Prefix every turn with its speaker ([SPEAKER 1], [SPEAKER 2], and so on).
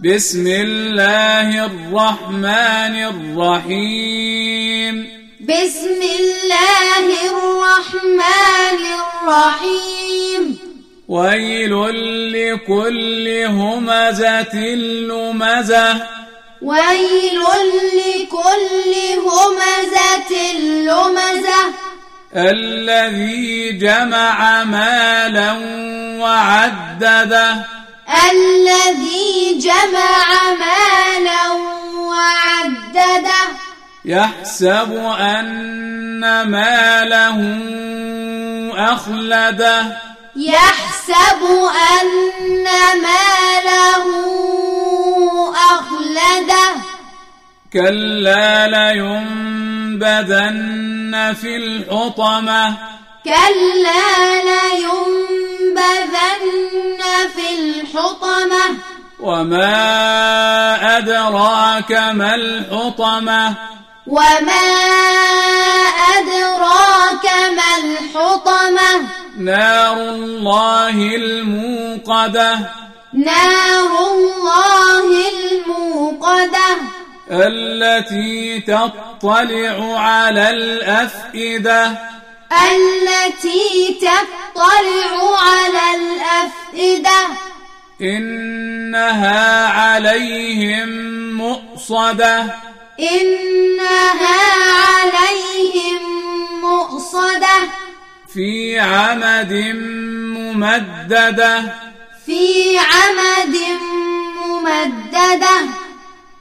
[SPEAKER 1] بسم الله الرحمن الرحيم
[SPEAKER 2] بسم الله الرحمن الرحيم
[SPEAKER 1] ويل لكل همزة لمزة
[SPEAKER 2] ويل لكل همزة لمزة
[SPEAKER 1] الذي جمع مالا وعدده
[SPEAKER 2] الذي جمع مالا وعدده
[SPEAKER 1] يحسب أن ماله أخلده
[SPEAKER 2] يحسب أن ماله أخلده
[SPEAKER 1] كلا لينبذن في الحطمة
[SPEAKER 2] كلا لينبذن في الحطمة
[SPEAKER 1] وما أدراك ما الحطمة
[SPEAKER 2] وما أدراك ما الحطمة
[SPEAKER 1] نار الله الموقدة
[SPEAKER 2] نار الله الموقدة
[SPEAKER 1] التي تطلع على الأفئدة
[SPEAKER 2] التي تطلع على الأفئدة
[SPEAKER 1] إنها عليهم مؤصدة
[SPEAKER 2] إنها عليهم مؤصدة
[SPEAKER 1] في عمد ممددة
[SPEAKER 2] في عمد ممددة